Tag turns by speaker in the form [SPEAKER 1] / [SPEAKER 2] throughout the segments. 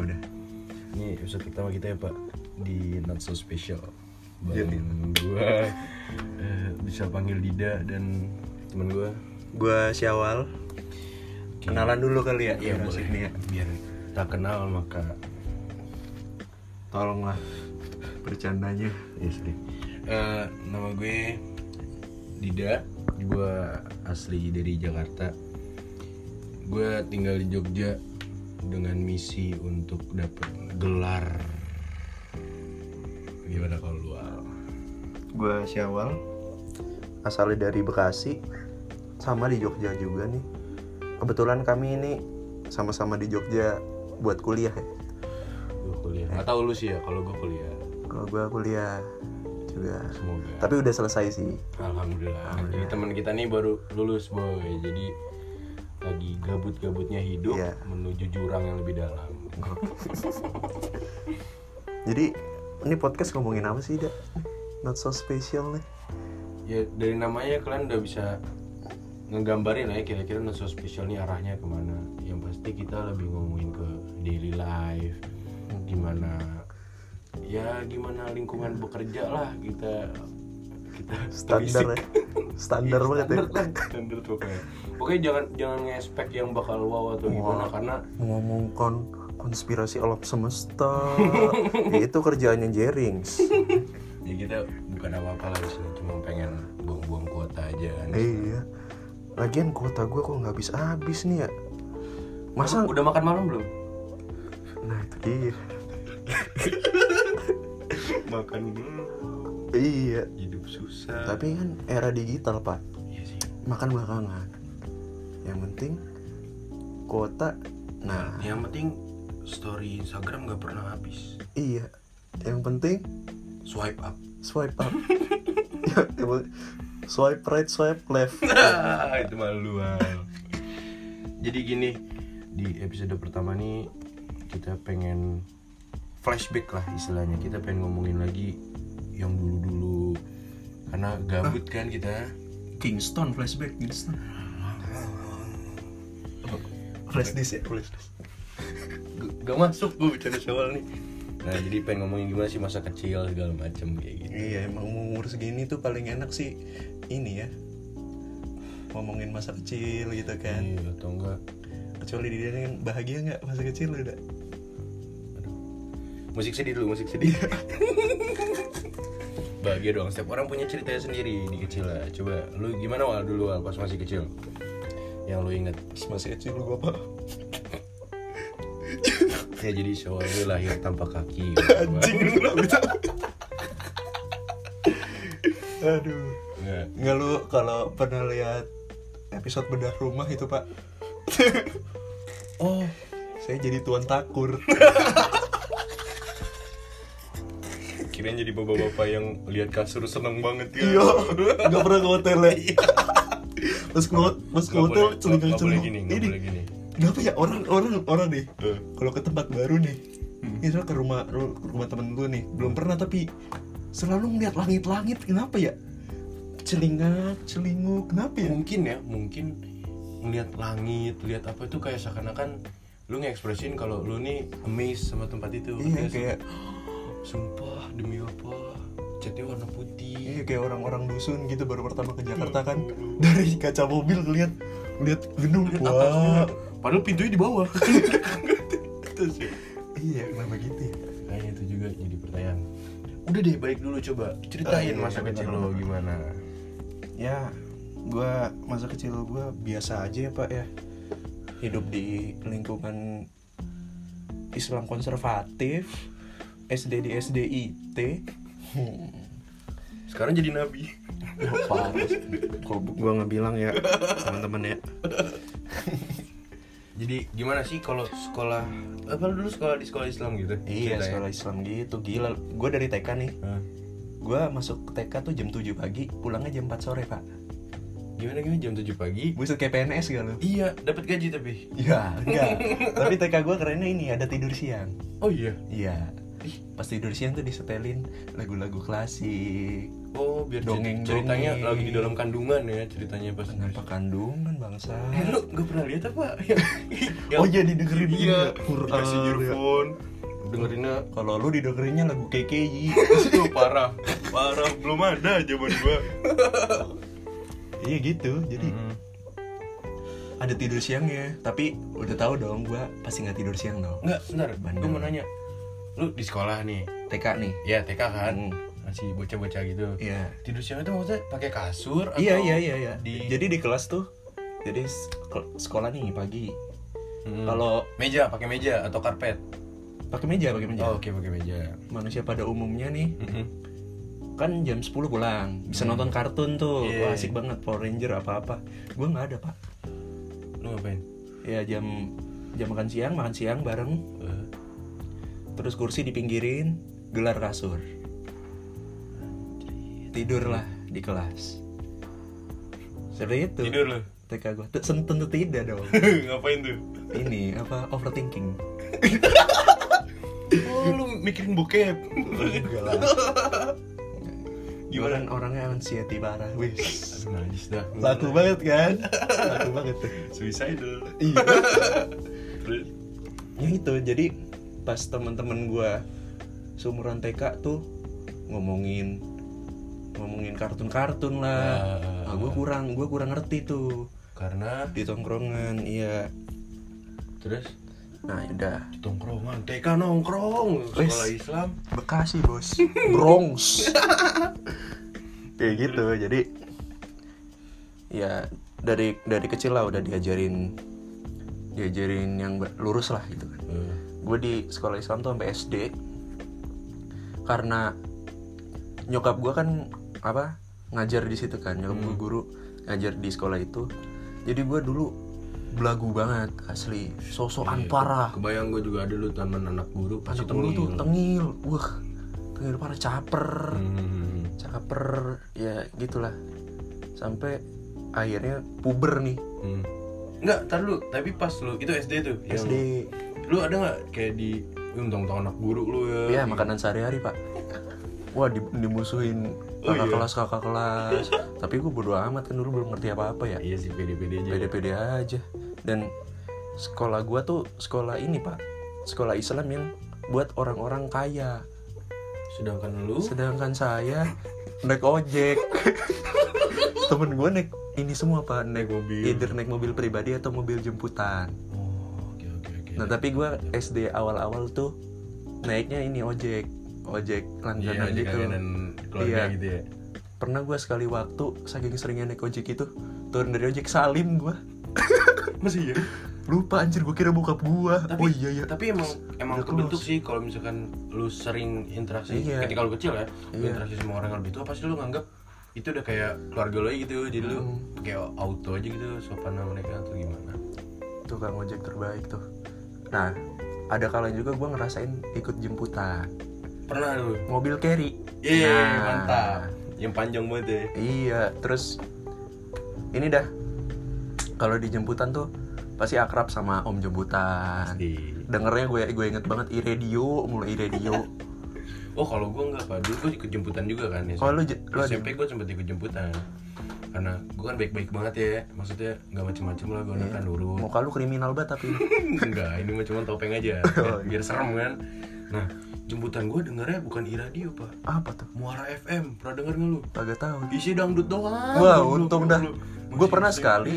[SPEAKER 1] Ya, Iya. pertama kita ya Pak di Not So Special.
[SPEAKER 2] Iya,
[SPEAKER 1] Bang gua eh, bisa panggil Dida dan teman gua.
[SPEAKER 2] Gua Syawal. Kenalan dulu kali ya.
[SPEAKER 1] Iya
[SPEAKER 2] orang
[SPEAKER 1] boleh.
[SPEAKER 2] sini ya.
[SPEAKER 1] Biar tak kenal maka
[SPEAKER 2] Tolonglah bercandanya.
[SPEAKER 1] istri. Eh, nama gue Dida. Gua asli dari Jakarta. Gua tinggal di Jogja dengan misi untuk dapat gelar. Gimana kalau lu? Al?
[SPEAKER 2] Gua Syawal. Asalnya dari Bekasi. Sama di Jogja juga nih. Kebetulan kami ini sama-sama di Jogja buat kuliah ya.
[SPEAKER 1] Gue kuliah. Atau lu sih ya kalau gue kuliah.
[SPEAKER 2] Kalau gua kuliah juga.
[SPEAKER 1] Semoga.
[SPEAKER 2] Tapi udah selesai sih.
[SPEAKER 1] Alhamdulillah. Jadi teman kita nih baru lulus boy. Jadi lagi gabut-gabutnya hidup
[SPEAKER 2] Iya.
[SPEAKER 1] menuju jurang yang lebih dalam.
[SPEAKER 2] Jadi ini podcast ngomongin apa sih, Da? Not so special nih.
[SPEAKER 1] Ya dari namanya kalian udah bisa ngegambarin lah ya kira-kira Nusa Special nih arahnya kemana. Yang pasti kita lebih ngomongin ke daily life, gimana ya gimana lingkungan bekerja lah kita kita telisik.
[SPEAKER 2] Standar ya.
[SPEAKER 1] Iya,
[SPEAKER 2] Standar banget ya.
[SPEAKER 1] standar lah, standar pokoknya pokoknya jangan jangan ngespek yang bakal wow atau gimana karena
[SPEAKER 2] mengomongkan konspirasi alam semesta Ya, itu kerjaannya Jerings
[SPEAKER 1] ya kita bukan apa-apa lah di sini cuma pengen buang-buang kuota aja kan
[SPEAKER 2] Eh, iya lagian kuota gue kok nggak habis habis nih ya masa
[SPEAKER 1] udah makan malam belum
[SPEAKER 2] nah itu dia
[SPEAKER 1] makan belum
[SPEAKER 2] iya
[SPEAKER 1] hidup susah
[SPEAKER 2] tapi kan era digital pak
[SPEAKER 1] iya sih
[SPEAKER 2] makan belakangan yang penting kuota nah
[SPEAKER 1] yang penting story Instagram nggak pernah habis
[SPEAKER 2] iya yang penting
[SPEAKER 1] swipe up
[SPEAKER 2] swipe up Ya, emang swipe right swipe left
[SPEAKER 1] itu malu Al. jadi gini di episode pertama nih kita pengen flashback lah istilahnya kita pengen ngomongin lagi yang dulu-dulu karena gabut kan kita
[SPEAKER 2] Kingston flashback Kingston flash disk ya flash disk
[SPEAKER 1] G- gak masuk gue bicara soal nih nah jadi pengen ngomongin gimana sih masa kecil segala macem kayak gitu
[SPEAKER 2] iya emang umur segini tuh paling enak sih ini ya ngomongin masa kecil gitu kan
[SPEAKER 1] Iya, atau enggak
[SPEAKER 2] kecuali di dia kan bahagia nggak masa kecil udah
[SPEAKER 1] musik sedih dulu musik sedih bahagia dong setiap orang punya ceritanya sendiri di kecil lah coba lu gimana wal dulu wal pas masih kecil yang lu inget
[SPEAKER 2] Pas masa kecil lu apa
[SPEAKER 1] ya jadi soal lu lahir tanpa kaki
[SPEAKER 2] anjing lu nggak bisa aduh
[SPEAKER 1] Enggak.
[SPEAKER 2] nggak lu kalau pernah lihat episode bedah rumah itu pak
[SPEAKER 1] oh
[SPEAKER 2] saya jadi tuan takur
[SPEAKER 1] kirain jadi bapak-bapak yang lihat kasur seneng banget ya
[SPEAKER 2] Iya, nggak pernah ke hotel ya. Terus ke hot- pas ke
[SPEAKER 1] Iya. Nggak
[SPEAKER 2] hotel
[SPEAKER 1] boleh,
[SPEAKER 2] celingkang
[SPEAKER 1] nggak boleh
[SPEAKER 2] celingkang.
[SPEAKER 1] gini nggak
[SPEAKER 2] Ini
[SPEAKER 1] boleh gini
[SPEAKER 2] kenapa ya orang orang orang nih.
[SPEAKER 1] Eh.
[SPEAKER 2] Kalau ke tempat baru nih,
[SPEAKER 1] Hmm.
[SPEAKER 2] misalnya ke rumah ru- ke rumah temen gue nih, belum pernah tapi selalu ngeliat langit-langit. Kenapa ya? Celingak, celinguk, kenapa ya?
[SPEAKER 1] mungkin ya mungkin melihat langit lihat apa itu kayak seakan-akan lu ngekspresin kalau lu nih amazed sama tempat itu
[SPEAKER 2] Iya
[SPEAKER 1] Ngerti gak sih?
[SPEAKER 2] kayak
[SPEAKER 1] sumpah demi apa catnya warna putih
[SPEAKER 2] iya kayak orang-orang dusun gitu baru pertama ke
[SPEAKER 1] Hmm.
[SPEAKER 2] Jakarta kan dari kaca mobil ngeliat ngeliat gedung
[SPEAKER 1] Lihat atasnya.
[SPEAKER 2] wah
[SPEAKER 1] padahal pintunya di bawah ya. itu sih
[SPEAKER 2] iya kenapa gitu ya
[SPEAKER 1] kayaknya itu juga jadi pertanyaan udah deh balik dulu coba ceritain
[SPEAKER 2] Oh, iya,
[SPEAKER 1] masa
[SPEAKER 2] iya,
[SPEAKER 1] kecil
[SPEAKER 2] bener,
[SPEAKER 1] lo gimana
[SPEAKER 2] ya gua masa kecil gua biasa aja ya pak ya hidup di lingkungan Islam konservatif SD di SDIT hmm.
[SPEAKER 1] sekarang jadi nabi
[SPEAKER 2] Oh, kok gua nggak bilang ya teman-teman ya
[SPEAKER 1] jadi gimana sih kalau sekolah apa lu dulu sekolah di sekolah Islam gitu
[SPEAKER 2] iya
[SPEAKER 1] Ceritanya.
[SPEAKER 2] sekolah Islam gitu gila gua dari TK nih
[SPEAKER 1] Hah?
[SPEAKER 2] gua masuk TK tuh jam 7 pagi pulangnya jam 4 sore pak
[SPEAKER 1] gimana gimana jam 7 pagi
[SPEAKER 2] buset kayak PNS gak lu
[SPEAKER 1] iya dapat gaji tapi
[SPEAKER 2] ya gitu enggak tapi TK gua kerennya ini ada tidur siang
[SPEAKER 1] oh iya
[SPEAKER 2] Iya. Pas tidur siang tuh disetelin lagu-lagu klasik.
[SPEAKER 1] Oh, biar
[SPEAKER 2] Dongeng-dongeng.
[SPEAKER 1] ceritanya lagi di dalam kandungan ya ceritanya pas
[SPEAKER 2] Kenapa kandungan bangsa?
[SPEAKER 1] Eh, lu gak pernah lihat apa?
[SPEAKER 2] Oh, iya, didengerin
[SPEAKER 1] iya.
[SPEAKER 2] juga. Quran,
[SPEAKER 1] Dikasih
[SPEAKER 2] ya.
[SPEAKER 1] earphone, dengerinnya
[SPEAKER 2] Kalau lu didengerinnya lagu KKI.
[SPEAKER 1] itu parah parah belum ada zaman gua
[SPEAKER 2] iya gitu. Jadi ada tidur siangnya, tapi udah tahu dong gua pasti nggak tidur siang dong.
[SPEAKER 1] nggak bentar
[SPEAKER 2] Bandel.
[SPEAKER 1] gua mau nanya lu di sekolah nih
[SPEAKER 2] TK nih.
[SPEAKER 1] ya TK kan
[SPEAKER 2] Hmm.
[SPEAKER 1] masih bocah-bocah gitu
[SPEAKER 2] Iya.
[SPEAKER 1] tidur siang itu maksudnya pakai kasur
[SPEAKER 2] Iya
[SPEAKER 1] atau-
[SPEAKER 2] iya iya iya.
[SPEAKER 1] di-
[SPEAKER 2] Jadi di kelas tuh jadi sek- sekolah nih pagi.
[SPEAKER 1] Hmm.
[SPEAKER 2] Kalau
[SPEAKER 1] meja pakai meja atau karpet
[SPEAKER 2] pakai meja, pakai meja.
[SPEAKER 1] Oh, oke pakai meja
[SPEAKER 2] Manusia pada umumnya nih
[SPEAKER 1] Mm-mm.
[SPEAKER 2] kan jam 10 pulang bisa
[SPEAKER 1] Hmm.
[SPEAKER 2] nonton kartun tuh
[SPEAKER 1] Iya.
[SPEAKER 2] Wah, asik banget Power Ranger apa apa gue nggak ada pak
[SPEAKER 1] lu ngapain
[SPEAKER 2] ya jam jam makan siang makan siang bareng
[SPEAKER 1] Eh,
[SPEAKER 2] terus kursi dipinggirin gelar kasur tidurlah di kelas seperti itu
[SPEAKER 1] tidur lu
[SPEAKER 2] TK gue tentu tidak dong
[SPEAKER 1] ngapain tuh
[SPEAKER 2] ini apa overthinking
[SPEAKER 1] oh lu mikirin bokep
[SPEAKER 2] Enggak lah.
[SPEAKER 1] Gimana?
[SPEAKER 2] Gimana orangnya anxiety parah, wis.
[SPEAKER 1] aduh najis dah
[SPEAKER 2] Laku banget kan? Laku banget tuh.
[SPEAKER 1] suicidal
[SPEAKER 2] Iya.
[SPEAKER 1] terus
[SPEAKER 2] ya itu jadi pas teman-teman gua seumuran TK tuh ngomongin ngomongin kartun-kartun lah ah, gue kurang gue kurang ngerti tuh
[SPEAKER 1] karena
[SPEAKER 2] di tongkrongan iya
[SPEAKER 1] terus
[SPEAKER 2] nah udah
[SPEAKER 1] di tongkrongan TK nongkrong
[SPEAKER 2] Wes.
[SPEAKER 1] sekolah Islam
[SPEAKER 2] Bekasi bos Bronx kayak gitu jadi ya dari dari kecil lah udah diajarin diajarin yang ba- lurus lah gitu kan
[SPEAKER 1] Eh,
[SPEAKER 2] gue di sekolah Islam tuh sampai SD karena nyokap gue kan apa ngajar di situ kan nyokap gue guru ngajar di sekolah itu jadi gue dulu belagu banget asli sosokan parah
[SPEAKER 1] kebayang gue juga ada lu taman Ah. anak guru pasti
[SPEAKER 2] anak dulu tuh
[SPEAKER 1] tengil.
[SPEAKER 2] tengil wah tengil parah caper
[SPEAKER 1] Hmm.
[SPEAKER 2] caper ya gitulah sampai akhirnya puber nih
[SPEAKER 1] Hmm. Enggak, tar lu, tapi pas lu, itu SD tuh yang-
[SPEAKER 2] SD
[SPEAKER 1] Lu ada nggak kayak di, lu untung-untung anak guru lu ya
[SPEAKER 2] ya makanan sehari-hari pak wah di- dimusuhin
[SPEAKER 1] Oh, iya.
[SPEAKER 2] kakak kelas kakak kelas tapi gue bodo amat kan dulu belum ngerti apa-apa ya
[SPEAKER 1] Iya sih, pede-pede aja
[SPEAKER 2] pede-pede aja dan sekolah gua tuh sekolah ini pak sekolah Islam yang buat orang-orang kaya
[SPEAKER 1] Sedangkan lu
[SPEAKER 2] sedangkan saya naik ojek temen gue naik ini semua pak naik
[SPEAKER 1] mobil.
[SPEAKER 2] either naik mobil pribadi atau mobil jemputan
[SPEAKER 1] Oh, oke oke oke
[SPEAKER 2] nah tapi gue SD awal-awal tuh naiknya ini ojek ojek
[SPEAKER 1] Iya,
[SPEAKER 2] langganan
[SPEAKER 1] di
[SPEAKER 2] gitu
[SPEAKER 1] kangenan keluarga
[SPEAKER 2] Iya.
[SPEAKER 1] gitu ya
[SPEAKER 2] pernah gue sekali waktu saking seringnya naik ojek itu turun dari ojek salim gue
[SPEAKER 1] Masih ya?
[SPEAKER 2] lupa anjir gue kira bokap gue
[SPEAKER 1] Tapi,
[SPEAKER 2] oh iya iya
[SPEAKER 1] tapi emang emang
[SPEAKER 2] Udah
[SPEAKER 1] kebentuk
[SPEAKER 2] close.
[SPEAKER 1] sih kalau misalkan lu sering interaksi
[SPEAKER 2] Iya.
[SPEAKER 1] ketika lu kecil ya lu
[SPEAKER 2] Iya.
[SPEAKER 1] interaksi sama orang yang lebih tua pasti lu nganggap itu udah kayak keluarga lu aja gitu jadi lu
[SPEAKER 2] Hmm.
[SPEAKER 1] kayak auto aja gitu sopan sama mereka atau gimana
[SPEAKER 2] tukang ojek terbaik tuh nah ada kalanya juga gue ngerasain ikut jemputan
[SPEAKER 1] pernah lu
[SPEAKER 2] mobil carry
[SPEAKER 1] Yeay,
[SPEAKER 2] Nah.
[SPEAKER 1] Iya, mantap. Yang panjang banget ya.
[SPEAKER 2] Iya, terus ini dah kalau di jemputan tuh pasti akrab sama om jemputan.
[SPEAKER 1] Di.
[SPEAKER 2] Dengernya gue gue inget banget iRadio, mulai iRadio.
[SPEAKER 1] Oh, kalau gue nggak pak, dulu gue ikut jemputan juga kan ya.
[SPEAKER 2] Kalau lu je- lu ada-
[SPEAKER 1] SMP gue sempet ikut jemputan. Karena gue kan baik-baik banget ya, maksudnya nggak macem-macem lah
[SPEAKER 2] Iya.
[SPEAKER 1] gue anak kan nurut.
[SPEAKER 2] muka lu kriminal banget tapi
[SPEAKER 1] Enggak, ini mah cuma topeng aja,
[SPEAKER 2] Oh, iya.
[SPEAKER 1] biar, biar serem kan. Nah, jemputan gue dengernya bukan i radio pak,
[SPEAKER 2] apa tuh?
[SPEAKER 1] Muara FM, pernah denger nggak lu?
[SPEAKER 2] Kagak tahu.
[SPEAKER 1] Isi dangdut doang.
[SPEAKER 2] Wah,
[SPEAKER 1] Goblok,
[SPEAKER 2] untung dah.
[SPEAKER 1] goblok.
[SPEAKER 2] Gue pernah
[SPEAKER 1] Masih-
[SPEAKER 2] sekali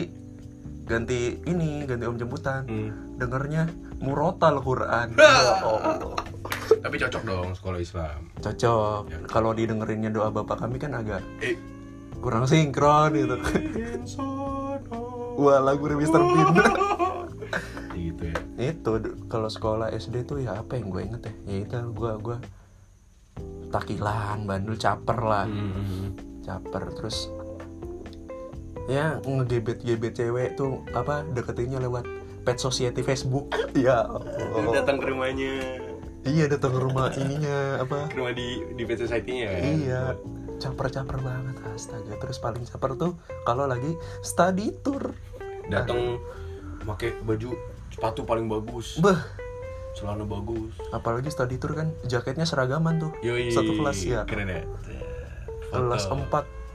[SPEAKER 2] ganti ini, ganti om jemputan.
[SPEAKER 1] Hmm.
[SPEAKER 2] Dengernya murotal Quran. Ya Allah.
[SPEAKER 1] Tapi cocok dong sekolah Islam.
[SPEAKER 2] Cocok. Kalau didengerinnya doa bapak kami kan agak
[SPEAKER 1] Eh,
[SPEAKER 2] kurang sinkron gitu.
[SPEAKER 1] Insono.
[SPEAKER 2] Wah, lagu Mr. Bean.
[SPEAKER 1] Oh. gitu ya.
[SPEAKER 2] itu du- kalau sekolah SD tuh ya apa yang gue inget ya ya itu gue gue takilan bandel caper lah
[SPEAKER 1] Hmm.
[SPEAKER 2] caper terus ya ngegebet gebet cewek tuh apa deketinnya lewat pet society Facebook ya
[SPEAKER 1] Lu
[SPEAKER 2] Allah.
[SPEAKER 1] datang ke rumahnya,
[SPEAKER 2] iya datang ke rumah ininya apa
[SPEAKER 1] ke rumah di di pet society-nya kan.
[SPEAKER 2] iya caper-caper banget astaga terus paling caper tuh kalau lagi study tour
[SPEAKER 1] Datang pakai baju sepatu paling bagus,
[SPEAKER 2] beh
[SPEAKER 1] celana bagus.
[SPEAKER 2] apalagi study tour kan jaketnya seragaman tuh
[SPEAKER 1] Yoi.
[SPEAKER 2] satu kelas ya
[SPEAKER 1] Keren ya. Foto.
[SPEAKER 2] kelas 4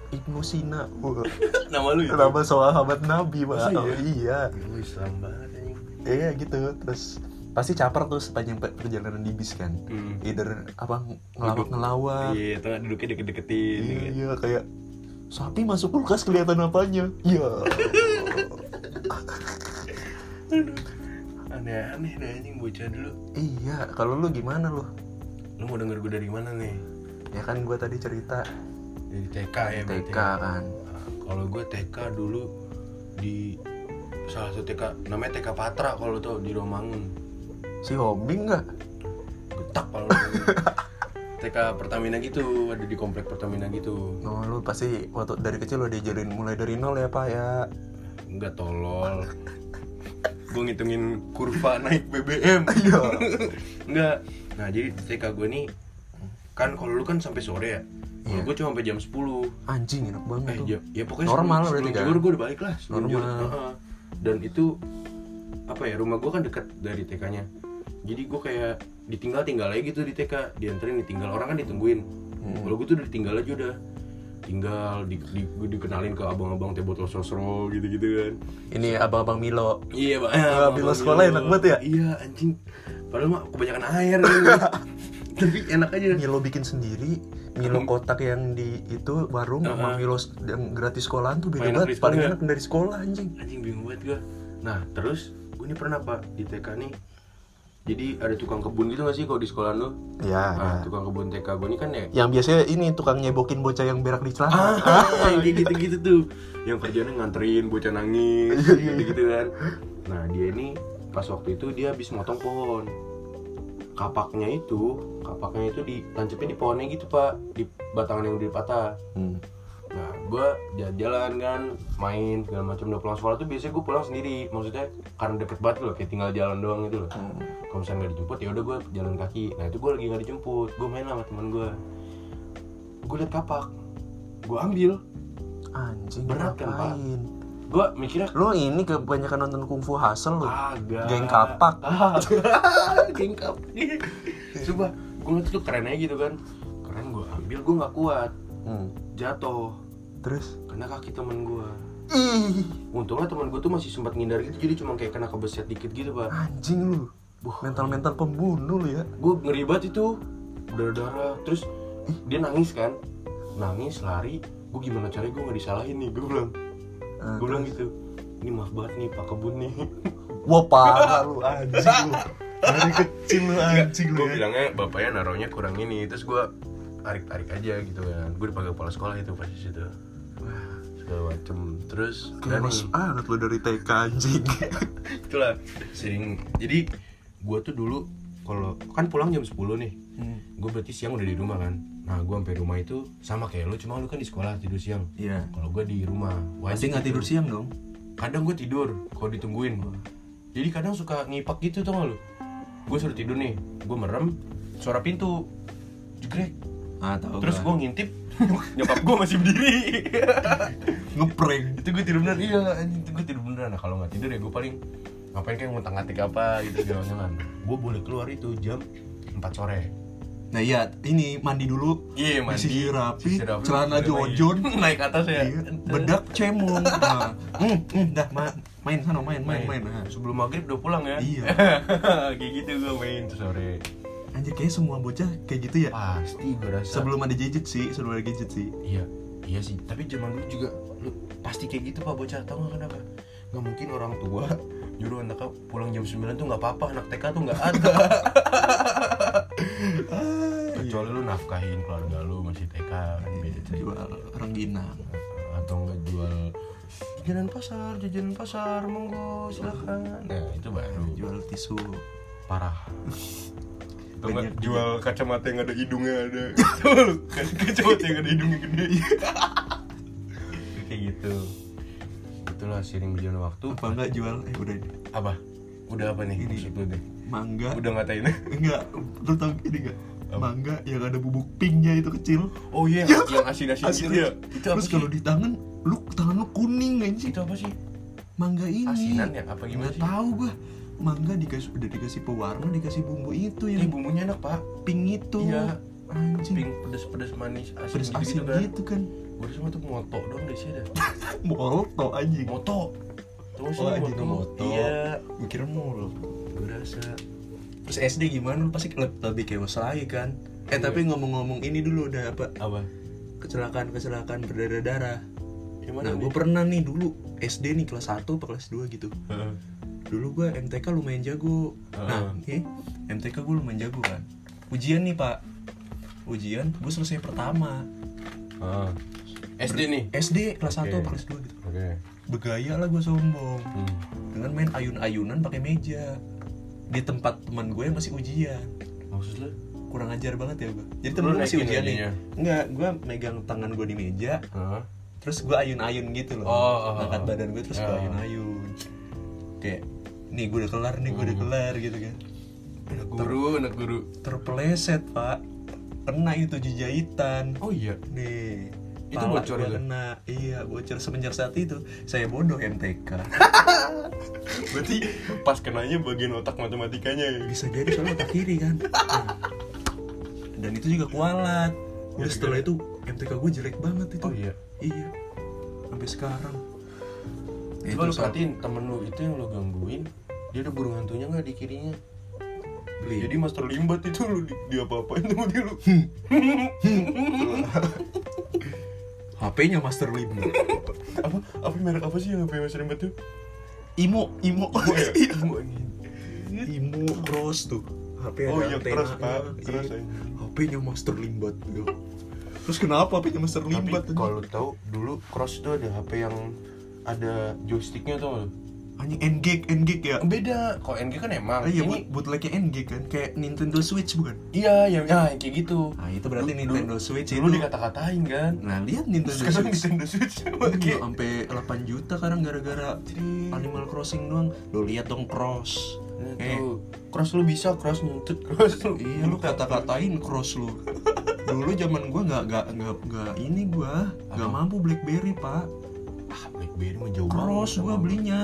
[SPEAKER 2] Ibnu Sina Wah,
[SPEAKER 1] Nama lu ya? itu.
[SPEAKER 2] nama sahabat Nabi pak
[SPEAKER 1] Masa iya?
[SPEAKER 2] Oh, iya
[SPEAKER 1] Lu Islam banget anjing.
[SPEAKER 2] iya gitu terus pasti caper tuh sepanjang pe- perjalanan di bis kan
[SPEAKER 1] Hmm.
[SPEAKER 2] either apa ngelawak ngelawak
[SPEAKER 1] Iya, tengah duduknya deket-deketin. ya kan?
[SPEAKER 2] iya kayak sapi masuk kulkas kelihatan apanya iya
[SPEAKER 1] Aneh-aneh deh anjing bocah dulu.
[SPEAKER 2] iya kalau lu gimana lu
[SPEAKER 1] Lu mau denger gue dari mana nih?
[SPEAKER 2] ya kan gue tadi cerita
[SPEAKER 1] Dari TK ya berarti.
[SPEAKER 2] TK kan
[SPEAKER 1] Nah, Kalau gue TK dulu di salah satu TK namanya TK Patra kalau lu tau di Romangun.
[SPEAKER 2] si Hombing nggak
[SPEAKER 1] Getak kalau lu. TK Pertamina gitu, ada di komplek Pertamina gitu.
[SPEAKER 2] Oh, lu pasti waktu dari kecil lo diajarin mulai dari nol ya pak ya
[SPEAKER 1] Enggak tolol. gue ngitungin kurva naik BBM.
[SPEAKER 2] iya
[SPEAKER 1] Enggak. Nah, jadi TK gue nih kan kalau lu kan sampai sore ya. Kalau
[SPEAKER 2] Iya.
[SPEAKER 1] gue cuma sampai jam 10.
[SPEAKER 2] anjing enak banget
[SPEAKER 1] Eh,
[SPEAKER 2] tuh
[SPEAKER 1] ya, ya pokoknya
[SPEAKER 2] Normal
[SPEAKER 1] sebelum,
[SPEAKER 2] berarti
[SPEAKER 1] sebelum
[SPEAKER 2] kan?
[SPEAKER 1] zuhur gue udah balik lah sebelum
[SPEAKER 2] Normal.
[SPEAKER 1] zuhur. Heeh. Dan itu apa ya rumah gue kan dekat dari TK-nya. Jadi gue kayak ditinggal tinggal aja gitu di TK, dianterin ditinggal orang kan ditungguin.
[SPEAKER 2] Hmm.
[SPEAKER 1] Kalau gue tuh udah ditinggal aja udah tinggal di, di- gua dikenalin ke abang-abang teh botol sosro gitu-gitu kan
[SPEAKER 2] ini abang-abang Milo
[SPEAKER 1] iya bang
[SPEAKER 2] Wah, bila Eh, sekolah enak banget ya?
[SPEAKER 1] iya anjing padahal mah kebanyakan air gitu. tapi enak aja
[SPEAKER 2] Milo bikin sendiri Milo
[SPEAKER 1] Hmm.
[SPEAKER 2] kotak yang di itu warung sama Milo s- yang gratis sekolahan tuh beda
[SPEAKER 1] Paling enak dari
[SPEAKER 2] banget paling
[SPEAKER 1] sekolah
[SPEAKER 2] enak dari sekolah anjing
[SPEAKER 1] anjing bingung banget gue nah terus gue nih pernah pak di TK nih jadi ada tukang kebun gitu gak sih kalau di sekolah lu
[SPEAKER 2] ya
[SPEAKER 1] nah tukang kebun TK gue nih kan ya
[SPEAKER 2] yang biasanya ini tukang nyebokin bocah yang berak di celana
[SPEAKER 1] ah kayak gitu-gitu tuh yang kerjanya nganterin bocah nangis gitu-gitu kan nah dia ini pas waktu itu dia habis motong pohon kapaknya itu kapaknya itu ditancapin di pohonnya gitu pak di batangan yang udah patah
[SPEAKER 2] Hmm.
[SPEAKER 1] Nah, gue jalan-jalan kan, main segala macam udah pulang sekolah tuh biasanya gue pulang sendiri. Maksudnya karena deket banget loh, kayak tinggal jalan doang gitu loh. Kalau misalnya nggak dijemput, ya udah gue jalan kaki. Nah itu gue lagi nggak dijemput, gue main sama temen gue. Gue liat kapak, gue ambil.
[SPEAKER 2] anjing
[SPEAKER 1] Berat kan, Pak?
[SPEAKER 2] ngapain
[SPEAKER 1] Gue mikirnya
[SPEAKER 2] lo ini kebanyakan nonton kungfu hasil lo
[SPEAKER 1] kagak.
[SPEAKER 2] Geng kapak.
[SPEAKER 1] Kagak. Geng kapak. Coba, gue ngeliat tuh keren aja gitu kan. Keren gue ambil, gue nggak kuat,
[SPEAKER 2] Hmm.
[SPEAKER 1] jatuh.
[SPEAKER 2] terus
[SPEAKER 1] Kena kaki temen gue.
[SPEAKER 2] ih
[SPEAKER 1] Untungnya teman gue tuh masih sempat ngindar gitu, jadi cuma kayak kena kebeset dikit gitu, Pak.
[SPEAKER 2] anjing lu mental-mental pembunuh lu ya
[SPEAKER 1] Gue ngeri banget itu, darah-darah. Terus dia nangis kan, nangis, lari. Gue gimana caranya gue gak disalahin nih, gue bilang.
[SPEAKER 2] Ah,
[SPEAKER 1] Gue bilang gitu, ini maaf banget nih Pak Kebun nih.
[SPEAKER 2] Wah parah lu anjing lu Dari kecil lu anjing lu
[SPEAKER 1] gue
[SPEAKER 2] ya
[SPEAKER 1] bilangnya, bapaknya naruhnya kurang ini. Terus gue tarik-tarik aja gitu kan. Gue dipanggil kepala sekolah itu pas di situ. Wah, segala macem. Terus, dan-
[SPEAKER 2] Kayak mas banget lu dari TK anjing
[SPEAKER 1] itulah sering jadi gue tuh dulu kalau kan pulang jam 10 nih
[SPEAKER 2] Hmm.
[SPEAKER 1] gue berarti siang udah di rumah kan nah gue sampai rumah itu sama kayak lu cuma lu kan di sekolah tidur siang
[SPEAKER 2] Iya
[SPEAKER 1] kalau gue di rumah wajib
[SPEAKER 2] Pasti nggak tidur siang dong
[SPEAKER 1] kadang gue tidur kalau ditungguin jadi kadang suka ngipak gitu tau gak lu gue suruh tidur nih gue merem suara pintu jegrek
[SPEAKER 2] Ah tau
[SPEAKER 1] terus gue ngintip nyokap gue masih berdiri
[SPEAKER 2] ngeprank
[SPEAKER 1] itu gue tidur beneran iya anjing itu gue tidur beneran nah kalau nggak tidur ya gue paling ngapain kayak ngutang ngatik apa gitu segala jalan gue boleh keluar itu jam 4 sore
[SPEAKER 2] Nah iya ini mandi dulu
[SPEAKER 1] iya
[SPEAKER 2] Disisir rapi,
[SPEAKER 1] disisir rapi, balik
[SPEAKER 2] celana
[SPEAKER 1] lagi.
[SPEAKER 2] jonjon.
[SPEAKER 1] naik atas ya
[SPEAKER 2] Iya, Bedak cemong nah. Hmm, hmm, dah ma- main sana main main main Nah,
[SPEAKER 1] sebelum maghrib udah pulang ya
[SPEAKER 2] Iya.
[SPEAKER 1] kayak gitu gue main tuh sore
[SPEAKER 2] Nah, Anjir kayaknya semua bocah kayak gitu ya
[SPEAKER 1] pasti gue rasa
[SPEAKER 2] Sebelum ada gadget sih, sebelum ada gadget sih
[SPEAKER 1] iya iya sih tapi zaman dulu juga lu pasti kayak gitu pak bocah tau gak kenapa nggak mungkin orang tua nyuruh anaknya pulang jam 9 tuh nggak apa-apa anak TK tuh nggak ada kecuali lu nafkahin keluarga lu masih TK kan
[SPEAKER 2] Iya,
[SPEAKER 1] beda cerita
[SPEAKER 2] Jual orang ginang
[SPEAKER 1] atau nggak jual jajanan pasar jajanan pasar monggo silakan nah itu baru
[SPEAKER 2] Jual tisu
[SPEAKER 1] parah atau nggak
[SPEAKER 2] Banyak.
[SPEAKER 1] jual kacamata yang ada hidungnya ada kacamata yang ada hidungnya gede kayak gitu itulah sering berjalan waktu
[SPEAKER 2] Apa enggak jual, eh udah ini
[SPEAKER 1] apa udah apa nih
[SPEAKER 2] Ini.
[SPEAKER 1] maksud lu deh
[SPEAKER 2] Mangga
[SPEAKER 1] udah ngatain
[SPEAKER 2] Enggak, lu tau ini enggak? Mangga yang ada bubuk pinknya itu kecil
[SPEAKER 1] oh iya yang asin asin gitu ya itu apa
[SPEAKER 2] Terus
[SPEAKER 1] sih
[SPEAKER 2] kalau di tangan, lu tangan lu kuning anjing
[SPEAKER 1] itu apa sih
[SPEAKER 2] Mangga ini
[SPEAKER 1] Asinan ya? Apa gimana
[SPEAKER 2] Nggak
[SPEAKER 1] sih?
[SPEAKER 2] tahu gua Mangga dikasih, udah dikasih pewarna, dikasih bumbu itu
[SPEAKER 1] ini
[SPEAKER 2] yang
[SPEAKER 1] bumbunya enak pak
[SPEAKER 2] pink itu
[SPEAKER 1] Iya.
[SPEAKER 2] Anjing
[SPEAKER 1] pink pedes pedes manis asin
[SPEAKER 2] Pedes
[SPEAKER 1] gitu,
[SPEAKER 2] asin
[SPEAKER 1] kan
[SPEAKER 2] gitu kan
[SPEAKER 1] gue semua tuh moto dong deh sih ada
[SPEAKER 2] Molto anjing
[SPEAKER 1] moto terus
[SPEAKER 2] Oh anjing moto
[SPEAKER 1] iya
[SPEAKER 2] Gua kira mulu
[SPEAKER 1] gue rasa
[SPEAKER 2] terus SD gimana lu pasti lebih, lebih chaos lagi kan eh
[SPEAKER 1] Iya.
[SPEAKER 2] tapi ngomong-ngomong ini dulu udah apa
[SPEAKER 1] apa
[SPEAKER 2] kecelakaan kecelakaan berdarah-darah
[SPEAKER 1] gimana
[SPEAKER 2] nah
[SPEAKER 1] nih?
[SPEAKER 2] gue pernah nih dulu SD nih kelas 1 apa kelas 2 gitu
[SPEAKER 1] Heeh.
[SPEAKER 2] dulu gue MTK lumayan jago
[SPEAKER 1] Ah.
[SPEAKER 2] nah eh, MTK gue lumayan jago kan ujian nih pak ujian gue selesai pertama
[SPEAKER 1] Ah. SD nih
[SPEAKER 2] SD kelas
[SPEAKER 1] Eh.
[SPEAKER 2] 1
[SPEAKER 1] Oke.
[SPEAKER 2] apa kelas 2 gitu
[SPEAKER 1] oke
[SPEAKER 2] bergaya lah gue sombong
[SPEAKER 1] Hmm.
[SPEAKER 2] dengan main ayun-ayunan pakai meja di tempat teman gue yang masih ujian
[SPEAKER 1] maksud lu
[SPEAKER 2] kurang ajar banget ya gue jadi
[SPEAKER 1] Lu
[SPEAKER 2] temen gue masih
[SPEAKER 1] naikin
[SPEAKER 2] ujian
[SPEAKER 1] aja.
[SPEAKER 2] nih enggak gue megang tangan gue di meja
[SPEAKER 1] Heeh.
[SPEAKER 2] terus gue ayun-ayun gitu loh
[SPEAKER 1] Oh, oh,
[SPEAKER 2] angkat
[SPEAKER 1] oh.
[SPEAKER 2] badan gue terus gue
[SPEAKER 1] Oh.
[SPEAKER 2] ayun-ayun kayak nih gue udah kelar nih gue
[SPEAKER 1] Hmm.
[SPEAKER 2] udah kelar gitu kan
[SPEAKER 1] anak guru anak guru
[SPEAKER 2] terpeleset pak kena itu jahitan
[SPEAKER 1] oh iya
[SPEAKER 2] nih
[SPEAKER 1] Itu
[SPEAKER 2] pala
[SPEAKER 1] bocor
[SPEAKER 2] gua
[SPEAKER 1] itu?
[SPEAKER 2] kena iya bocor semenjak saat itu saya bodoh MTK
[SPEAKER 1] berarti pas kenanya bagian otak matematikanya ya
[SPEAKER 2] bisa jadi soalnya otak kiri kan Nah. dan itu juga kualat udah setelah itu MTK gue jelek banget itu
[SPEAKER 1] Iya, Oh iya.
[SPEAKER 2] iya sampai sekarang
[SPEAKER 1] Coba lu
[SPEAKER 2] Itu saat-
[SPEAKER 1] perhatiin Eh, temen lu itu yang lu gangguin Dia ada burung hantunya gak di kirinya
[SPEAKER 2] Beli.
[SPEAKER 1] Jadi master limbat itu lu di, di apa-apain sama dia lu
[SPEAKER 2] HP-nya Master Lim
[SPEAKER 1] Apa, apa merek apa sih yang HP master limbat tuh?
[SPEAKER 2] Imo Imo ya?
[SPEAKER 1] Oh iya
[SPEAKER 2] Imo Cross tuh HP ada
[SPEAKER 1] Oh iya,
[SPEAKER 2] antena
[SPEAKER 1] Cross, Pak. Cross, iya.
[SPEAKER 2] HP-nya Master Limbat yo. Terus kenapa HP-nya Master
[SPEAKER 1] Tapi
[SPEAKER 2] Limbat anjing?
[SPEAKER 1] kalau lu tahu dulu cross tuh ada HP yang ada joysticknya tuh lu
[SPEAKER 2] anjing NGG NGG ya?
[SPEAKER 1] Beda, kalau NG kan emang
[SPEAKER 2] Ah, iya
[SPEAKER 1] Ini-
[SPEAKER 2] buat bootlegnya NGG kan kayak Nintendo Switch bukan?
[SPEAKER 1] Iya, yang ah, kayak gitu
[SPEAKER 2] Nah, itu berarti
[SPEAKER 1] Dulu-
[SPEAKER 2] Nintendo
[SPEAKER 1] dulu-
[SPEAKER 2] Switch
[SPEAKER 1] Dulu
[SPEAKER 2] itu.
[SPEAKER 1] dikata-katain kan
[SPEAKER 2] Nah, lihat Nintendo
[SPEAKER 1] Sekarang gitu.
[SPEAKER 2] Switch.
[SPEAKER 1] Nintendo Switch sama
[SPEAKER 2] Iya,
[SPEAKER 1] kayak
[SPEAKER 2] sampai 8 juta sekarang gara-gara Animal Crossing doang. Lo lihat dong Cross.
[SPEAKER 1] Nah,
[SPEAKER 2] Eh,
[SPEAKER 1] tuh. Cross lu bisa, cross nuntut, cross lu
[SPEAKER 2] Iya lu kata-katain cross lu. Dulu zaman gua nggak nggak nggak nggak ini gua nggak
[SPEAKER 1] Apa?
[SPEAKER 2] mampu BlackBerry pak.
[SPEAKER 1] Ah, Blackberry mah jauh
[SPEAKER 2] Cross
[SPEAKER 1] banget.
[SPEAKER 2] gua belinya.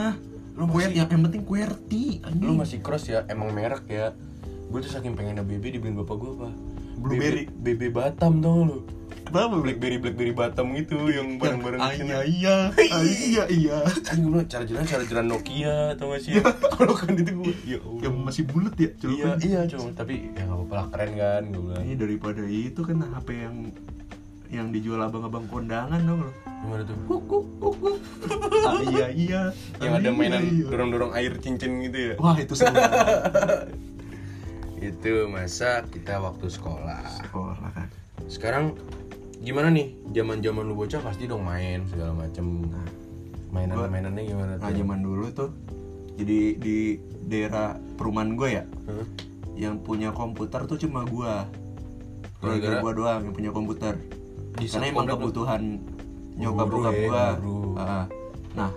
[SPEAKER 1] Lu
[SPEAKER 2] Lu Quer,
[SPEAKER 1] masih-
[SPEAKER 2] yang, yang penting QWERTY anjing.
[SPEAKER 1] Lu masih cross ya, emang merek ya. Gue tuh saking pengennya BB dibeliin bapak gue apa?
[SPEAKER 2] Blueberry.
[SPEAKER 1] BB, BB Batam dong lu.
[SPEAKER 2] kenapa
[SPEAKER 1] Blackberry Blackberry Batam gitu yang bareng-bareng
[SPEAKER 2] Iya iya iya iya.
[SPEAKER 1] Kan gue bilang chargeran chargeran Nokia atau gak sih? Kalau kan itu gue ya Allah.
[SPEAKER 2] Yang masih bulat ya
[SPEAKER 1] Iya,
[SPEAKER 2] celupan.
[SPEAKER 1] iya cuma tapi ya gak apa-apa lah keren kan gue bilang.
[SPEAKER 2] Ini daripada itu kan HP yang yang dijual abang-abang kondangan dong lo.
[SPEAKER 1] Gimana tuh?
[SPEAKER 2] Kukuk kukuk. Ah, iya iya.
[SPEAKER 1] Yang
[SPEAKER 2] Ah,
[SPEAKER 1] ada
[SPEAKER 2] iya,
[SPEAKER 1] mainan
[SPEAKER 2] iya.
[SPEAKER 1] dorong-dorong air cincin gitu ya.
[SPEAKER 2] Wah itu seru banget.
[SPEAKER 1] Itu masa kita waktu sekolah.
[SPEAKER 2] sekolah kan.
[SPEAKER 1] sekarang gimana nih zaman zaman lu bocah pasti dong main segala macem mainan mainannya gimana tuh
[SPEAKER 2] Nah zaman dulu tuh jadi di daerah perumahan gue ya
[SPEAKER 1] Hah?
[SPEAKER 2] yang punya komputer tuh cuma gue keluarga
[SPEAKER 1] Gara-gara?
[SPEAKER 2] gue doang yang punya komputer
[SPEAKER 1] Di
[SPEAKER 2] karena
[SPEAKER 1] satu
[SPEAKER 2] emang
[SPEAKER 1] pondok lu?
[SPEAKER 2] kebutuhan nyokap
[SPEAKER 1] Guru
[SPEAKER 2] bokap
[SPEAKER 1] ya,
[SPEAKER 2] gue
[SPEAKER 1] guru.
[SPEAKER 2] nah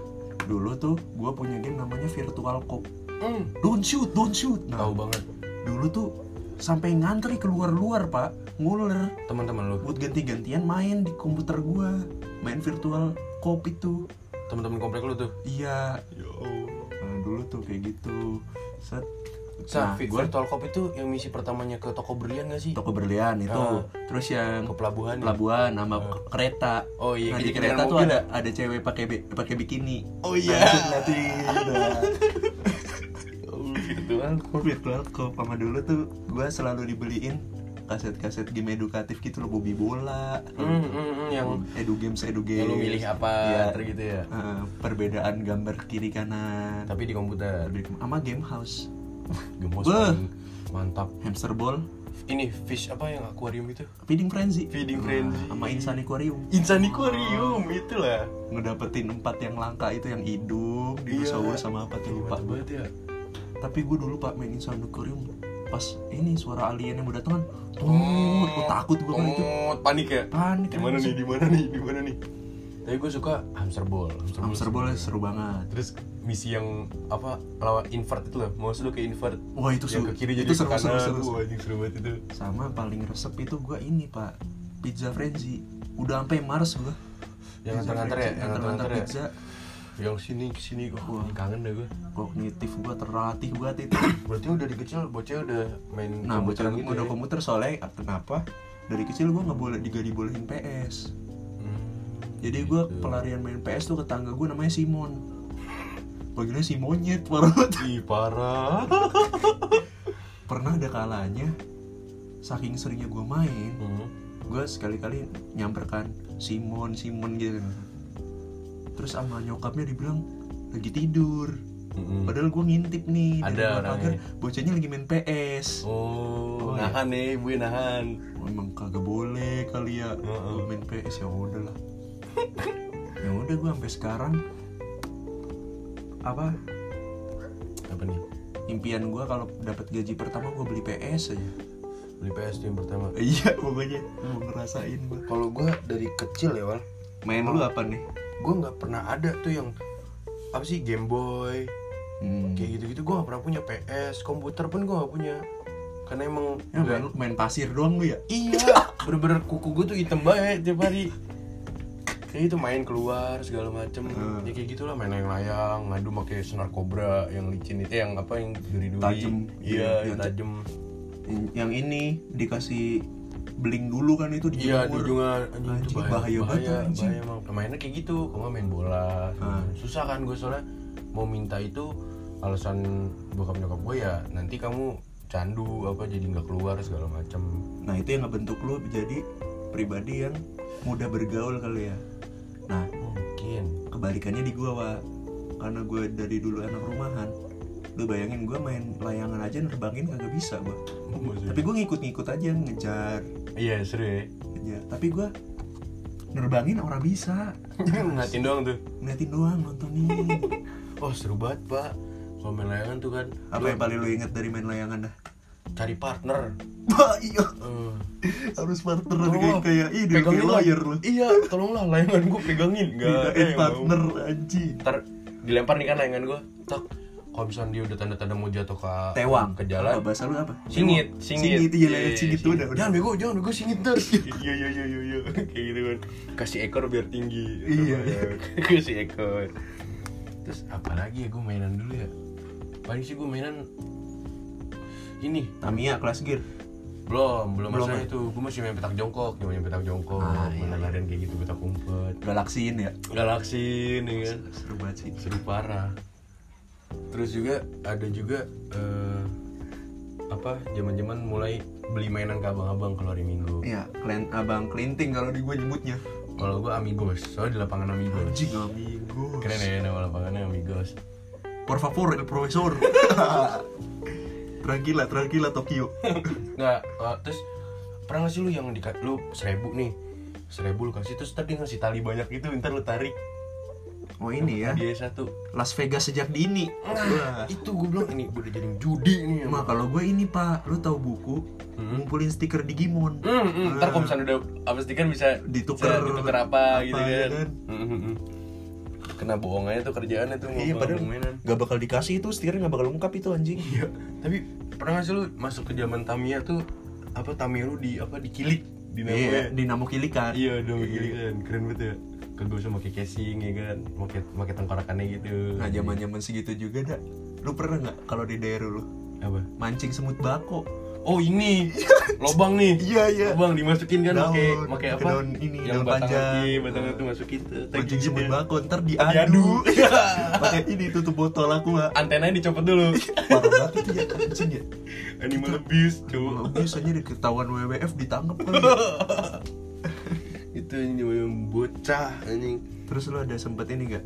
[SPEAKER 2] dulu tuh gue punya game namanya virtual cop
[SPEAKER 1] Hmm,
[SPEAKER 2] don't shoot don't shoot
[SPEAKER 1] tahu
[SPEAKER 2] nah
[SPEAKER 1] banget
[SPEAKER 2] dulu tuh sampai ngantri keluar luar pak nguler
[SPEAKER 1] teman-teman lu
[SPEAKER 2] buat ganti-gantian main di komputer gue main virtual cop itu
[SPEAKER 1] teman-teman komplek lu tuh
[SPEAKER 2] iya
[SPEAKER 1] Ya
[SPEAKER 2] Nah, dulu tuh kayak gitu. Set.
[SPEAKER 1] Sa,
[SPEAKER 2] Nah, gua
[SPEAKER 1] virtual cop itu yang misi pertamanya ke toko berlian gak sih?
[SPEAKER 2] toko berlian itu.
[SPEAKER 1] Ah.
[SPEAKER 2] Terus yang
[SPEAKER 1] Ke pelabuhan. ya?
[SPEAKER 2] Kan pelabuhan sama k- kereta.
[SPEAKER 1] Oh iya,
[SPEAKER 2] Nah, di
[SPEAKER 1] kejar-kejaran
[SPEAKER 2] kereta tuh
[SPEAKER 1] mobil
[SPEAKER 2] ada ada cewek pakai bi- pakai bikini.
[SPEAKER 1] Oh iya.
[SPEAKER 2] Nah, itu ngeliatin. Nah,
[SPEAKER 1] Oh, virtual
[SPEAKER 2] gua virtual cop sama dulu tuh gua selalu dibeliin kaset-kaset game edukatif gitu loh Bobi Bola.
[SPEAKER 1] Hmm, hmm, hmm, yang
[SPEAKER 2] Edu games, edu
[SPEAKER 1] yang
[SPEAKER 2] games.
[SPEAKER 1] Ya, lu milih apa
[SPEAKER 2] Iya.
[SPEAKER 1] ntar gitu ya
[SPEAKER 2] Eh, perbedaan gambar kiri kanan.
[SPEAKER 1] tapi di komputer
[SPEAKER 2] Sama game house,
[SPEAKER 1] gemos
[SPEAKER 2] Beuh.
[SPEAKER 1] paling mantap
[SPEAKER 2] hamster ball,
[SPEAKER 1] ini fish apa yang akuarium itu
[SPEAKER 2] feeding frenzy.
[SPEAKER 1] Feeding
[SPEAKER 2] Nah,
[SPEAKER 1] frenzy.
[SPEAKER 2] sama insan aquarium.
[SPEAKER 1] insan akuarium itulah
[SPEAKER 2] ngedapetin empat yang langka itu yang hidung, dinosaur
[SPEAKER 1] Iya.
[SPEAKER 2] sama apa tuh lupa
[SPEAKER 1] Mantap
[SPEAKER 2] gue.
[SPEAKER 1] banget ya
[SPEAKER 2] Tapi gue dulu pak main Insanocrium pas ini suara alien yang udah tangan, kan, tuh gua takut gue kan itu
[SPEAKER 1] Tut, panik ya
[SPEAKER 2] panik.
[SPEAKER 1] di mana Oh. nih di mana nih di mana nih tapi gue suka hamster ball
[SPEAKER 2] Hamster ball
[SPEAKER 1] seru.
[SPEAKER 2] seru banget.
[SPEAKER 1] terus misi yang apa lawan invert itu loh mau lu ke invert
[SPEAKER 2] Wah itu
[SPEAKER 1] yang
[SPEAKER 2] seru.
[SPEAKER 1] ke kiri jadi
[SPEAKER 2] itu seru,
[SPEAKER 1] ke kanan
[SPEAKER 2] seru, seru,
[SPEAKER 1] Wah, anjing seru banget itu
[SPEAKER 2] Sama paling resep itu gue ini pak pizza frenzy. Udah sampai Mars gue.
[SPEAKER 1] yang nganter-nganter ya yang nganter-nganter ya
[SPEAKER 2] pizza.
[SPEAKER 1] yang sini ke sini oh, ini kangen deh gue
[SPEAKER 2] Kognitif gue terlatih banget itu.
[SPEAKER 1] berarti udah dari kecil bocah udah main
[SPEAKER 2] Nah, bocah
[SPEAKER 1] komputeran
[SPEAKER 2] gue udah
[SPEAKER 1] ya?
[SPEAKER 2] komputer soalnya ah, kenapa? Dari kecil gue nggak boleh juga dibolehin PS.
[SPEAKER 1] Hmm,
[SPEAKER 2] Jadi gue
[SPEAKER 1] gitu.
[SPEAKER 2] pelarian main PS tuh ke tangga gue namanya Simon. Panggilnya si monyet parah banget.
[SPEAKER 1] Ih, parah
[SPEAKER 2] pernah ada kalanya saking seringnya gue main
[SPEAKER 1] Hmm.
[SPEAKER 2] gue sekali-kali nyamperkan Simon Simon gitu terus sama nyokapnya dibilang lagi tidur
[SPEAKER 1] Mm-mm.
[SPEAKER 2] padahal gue ngintip nih dari
[SPEAKER 1] Ada
[SPEAKER 2] luar
[SPEAKER 1] orangnya.
[SPEAKER 2] pagar bocahnya lagi main PS
[SPEAKER 1] Oh,
[SPEAKER 2] Oh, iya.
[SPEAKER 1] nahan nih, Bu, nahan.
[SPEAKER 2] Oh, emang kagak boleh kali ya
[SPEAKER 1] Heeh.
[SPEAKER 2] Gua main PS ya udah lah ya udah gue sampai sekarang apa
[SPEAKER 1] Apa nih?
[SPEAKER 2] impian gue kalau dapat gaji pertama gue beli PS aja
[SPEAKER 1] Beli PS tuh yang pertama.
[SPEAKER 2] iya pokoknya mau ngerasain gue
[SPEAKER 1] Kalau gue dari kecil ya, Wal,
[SPEAKER 2] main lu apa nih
[SPEAKER 1] gue nggak pernah ada tuh yang apa sih Game Boy
[SPEAKER 2] hmm.
[SPEAKER 1] kayak gitu-gitu. Gue nggak pernah punya PS, komputer pun gue nggak punya. Karena emang
[SPEAKER 2] Ya, main, lu- main pasir doang lu ya
[SPEAKER 1] iya, bener-bener kuku gue tuh hitam banget tiap hari. Kayak itu main keluar segala macem
[SPEAKER 2] Hmm.
[SPEAKER 1] Ya kayak gitulah main layang-layang Ngadu pakai senar kobra Yang licin itu Yang apa yang duri-duri
[SPEAKER 2] Tajem.
[SPEAKER 1] Iya yang
[SPEAKER 2] Yang-
[SPEAKER 1] tajem
[SPEAKER 2] yang ini dikasih bling dulu kan itu di
[SPEAKER 1] Iya di
[SPEAKER 2] jemur.
[SPEAKER 1] jungan anjing itu
[SPEAKER 2] Anjing, bahaya banget tuh, anjing.
[SPEAKER 1] bahaya emang. Mainnya kayak gitu, kalau nggak main bola.
[SPEAKER 2] Ah.
[SPEAKER 1] Susah kan gue soalnya mau minta itu alasan bokap nyokap gue ya nanti kamu candu apa jadi nggak keluar segala macam.
[SPEAKER 2] Nah itu yang ngebentuk lu jadi pribadi yang mudah bergaul kali ya. Nah
[SPEAKER 1] Mungkin.
[SPEAKER 2] kebalikannya di gua wa karena gue dari dulu anak rumahan. Lu bayangin gua main layangan aja nerbangin kagak bisa gua. Tapi gue ngikut-ngikut aja ngejar,
[SPEAKER 1] Iya seru ya.
[SPEAKER 2] ngejar. Tapi gua nerbangin orang bisa.
[SPEAKER 1] Ngatin doang tuh.
[SPEAKER 2] Ngeliatin doang nontonin.
[SPEAKER 1] Oh seru banget pak. Kalau main layangan tuh kan
[SPEAKER 2] Apa yang paling lu inget dari main layangan dah?
[SPEAKER 1] cari partner.
[SPEAKER 2] Wah iya
[SPEAKER 1] Eh,
[SPEAKER 2] harus partner
[SPEAKER 1] tolong
[SPEAKER 2] kayak
[SPEAKER 1] lah,
[SPEAKER 2] kayak ini kayak
[SPEAKER 1] pegangin lah.
[SPEAKER 2] lawyer lu.
[SPEAKER 1] Iya, tolonglah layangan gue pegangin. Gak ada
[SPEAKER 2] Tidak
[SPEAKER 1] yang mau.
[SPEAKER 2] partner anjing.
[SPEAKER 1] ntar dilempar nih kan layangan gue tak kalau misalnya dia udah tanda-tanda mau jatuh ke
[SPEAKER 2] tewang
[SPEAKER 1] ke jalan
[SPEAKER 2] Apa bahasa lu apa
[SPEAKER 1] singit
[SPEAKER 2] singit iya lah singit tuh udah udah
[SPEAKER 1] jangan bego jangan bego singit terus iya iya iya iya iya kayak gitu kan kasih ekor biar tinggi
[SPEAKER 2] Iya.
[SPEAKER 1] kasih ekor terus apa lagi ya gue mainan dulu ya paling sih gue mainan ini
[SPEAKER 2] Tamiya kelas gear
[SPEAKER 1] belum belum,
[SPEAKER 2] Belum,
[SPEAKER 1] masalah
[SPEAKER 2] ya?
[SPEAKER 1] itu gue masih main petak jongkok main petak jongkok
[SPEAKER 2] Ah, iya,
[SPEAKER 1] main
[SPEAKER 2] iya.
[SPEAKER 1] larian kayak gitu petak umpet
[SPEAKER 2] galaksiin ya
[SPEAKER 1] galaksin ya kan
[SPEAKER 2] seru banget sih
[SPEAKER 1] seru parah terus juga ada juga eh, apa zaman-zaman mulai beli mainan ke abang-abang kalau hari minggu
[SPEAKER 2] Iya, klan abang kelinting kalau di gue nyebutnya
[SPEAKER 1] kalau gua amigos soalnya di lapangan amigos
[SPEAKER 2] anjing amigos
[SPEAKER 1] keren ya nama lapangannya amigos
[SPEAKER 2] por favor el profesor tranquila tranquila Tokyo
[SPEAKER 1] nggak eh, terus pernah nggak sih lu yang di lu seribu nih seribu lu kasih terus tadi ngasih tali banyak gitu ntar lu tarik
[SPEAKER 2] oh ini ya
[SPEAKER 1] dia satu
[SPEAKER 2] Las Vegas sejak dini Wah.
[SPEAKER 1] itu gue bilang ini udah jadi judi nih
[SPEAKER 2] Ma,
[SPEAKER 1] emang.
[SPEAKER 2] kalau gue ini pak, lu tahu buku
[SPEAKER 1] Hmm.
[SPEAKER 2] ngumpulin stiker Digimon Nah,
[SPEAKER 1] Hmm, hmm. ntar kalau misalnya udah habis tiket bisa
[SPEAKER 2] Dituker.
[SPEAKER 1] bisa dituker apa,
[SPEAKER 2] Apa,
[SPEAKER 1] gitu
[SPEAKER 2] ya
[SPEAKER 1] kan.
[SPEAKER 2] kan?
[SPEAKER 1] Hmm, hmm, hmm. Kena bohongannya tuh kerjaannya tuh
[SPEAKER 2] Iya,
[SPEAKER 1] ngomong-
[SPEAKER 2] padahal
[SPEAKER 1] ngomonginan.
[SPEAKER 2] gak bakal dikasih itu, stikernya gak bakal lengkap itu anjing
[SPEAKER 1] Iya. Tapi pernah gak sih lu masuk ke zaman Tamiya tuh apa Tamiya lu di apa dikilik di
[SPEAKER 2] Iya,
[SPEAKER 1] namanya?
[SPEAKER 2] dinamo kilikan
[SPEAKER 1] Iya, udah dikilik kan. Keren banget ya. Kagak usah pakai casing ya kan. Pakai pakai tengkorakannya gitu.
[SPEAKER 2] Nah zaman zaman segitu juga dah. Lu pernah nggak kalau di daerah lu
[SPEAKER 1] apa?
[SPEAKER 2] mancing semut bako?
[SPEAKER 1] Oh, ini. Lobang nih.
[SPEAKER 2] Iya iya.
[SPEAKER 1] Lobang dimasukin kan
[SPEAKER 2] Daun,
[SPEAKER 1] pakai pakai
[SPEAKER 2] pakai
[SPEAKER 1] apa?
[SPEAKER 2] daun ini,
[SPEAKER 1] yang
[SPEAKER 2] daun
[SPEAKER 1] batang
[SPEAKER 2] panjang.
[SPEAKER 1] iya, batangnya tuh masukin tuh.
[SPEAKER 2] Mancing semut
[SPEAKER 1] Gitu.
[SPEAKER 2] bako ntar
[SPEAKER 1] Diadu.
[SPEAKER 2] Iya. diadu. Pakai ini tutup botol aku Wak.
[SPEAKER 1] antenanya dicopot dulu
[SPEAKER 2] Parah banget itu ya anjing ya.
[SPEAKER 1] animal abuse cuy
[SPEAKER 2] Biasanya di ketahuan WWF ditangkap kan.
[SPEAKER 1] itu yang bocah anjing
[SPEAKER 2] Terus lu ada sempet ini nggak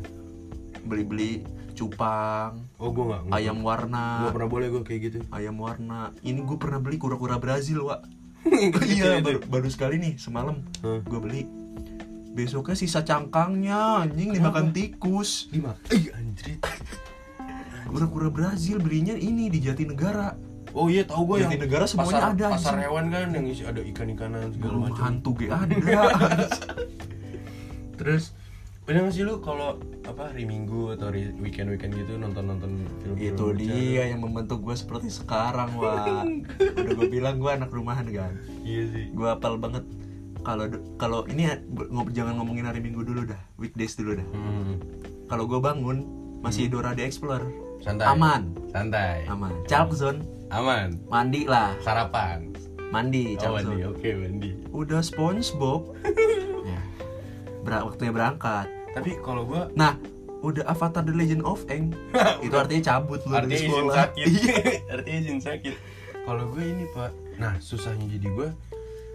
[SPEAKER 2] beli-beli cupang,
[SPEAKER 1] oh gue nggak nggak-
[SPEAKER 2] ayam
[SPEAKER 1] nggak
[SPEAKER 2] warna,
[SPEAKER 1] pernah boleh gue kayak gitu
[SPEAKER 2] ayam warna. Ini gue pernah beli kura-kura Brazil, Wak.
[SPEAKER 1] Kecil
[SPEAKER 2] iya
[SPEAKER 1] itu.
[SPEAKER 2] baru, baru sekali nih semalam
[SPEAKER 1] Hah?
[SPEAKER 2] gue beli besoknya sisa cangkangnya anjing dimakan tikus
[SPEAKER 1] lima ih anjrit
[SPEAKER 2] kura-kura Brazil belinya ini di Jatinegara
[SPEAKER 1] oh iya tau gue yang
[SPEAKER 2] Jatinegara
[SPEAKER 1] pasar,
[SPEAKER 2] semuanya ada,
[SPEAKER 1] pasar
[SPEAKER 2] anjing.
[SPEAKER 1] hewan kan yang isi ada ikan ikanan segala
[SPEAKER 2] belum
[SPEAKER 1] macam
[SPEAKER 2] hantu ge ada
[SPEAKER 1] terus pernah nggak sih lu kalau apa hari minggu atau hari weekend weekend gitu nonton nonton film
[SPEAKER 2] itu dia yang membentuk gue seperti sekarang wah udah gue bilang gue anak rumahan kan
[SPEAKER 1] iya sih
[SPEAKER 2] gue apal banget kalau kalau ini ya, ngob- jangan ngomongin hari minggu dulu dah weekdays dulu dah
[SPEAKER 1] hmm,
[SPEAKER 2] kalau gue bangun masih Dora the Explorer
[SPEAKER 1] santai
[SPEAKER 2] aman
[SPEAKER 1] santai
[SPEAKER 2] aman Calzone
[SPEAKER 1] aman
[SPEAKER 2] mandi lah
[SPEAKER 1] sarapan oh, mandi
[SPEAKER 2] mandi Calzone
[SPEAKER 1] oke mandi
[SPEAKER 2] udah SpongeBob ya ber- waktunya berangkat
[SPEAKER 1] tapi kalau gue
[SPEAKER 2] nah udah Avatar The Legend of Aang itu artinya cabut lu dari
[SPEAKER 1] artinya izin
[SPEAKER 2] sekolah
[SPEAKER 1] sakit artinya izin sakit Iya. kalau gue ini pak nah susahnya jadi gue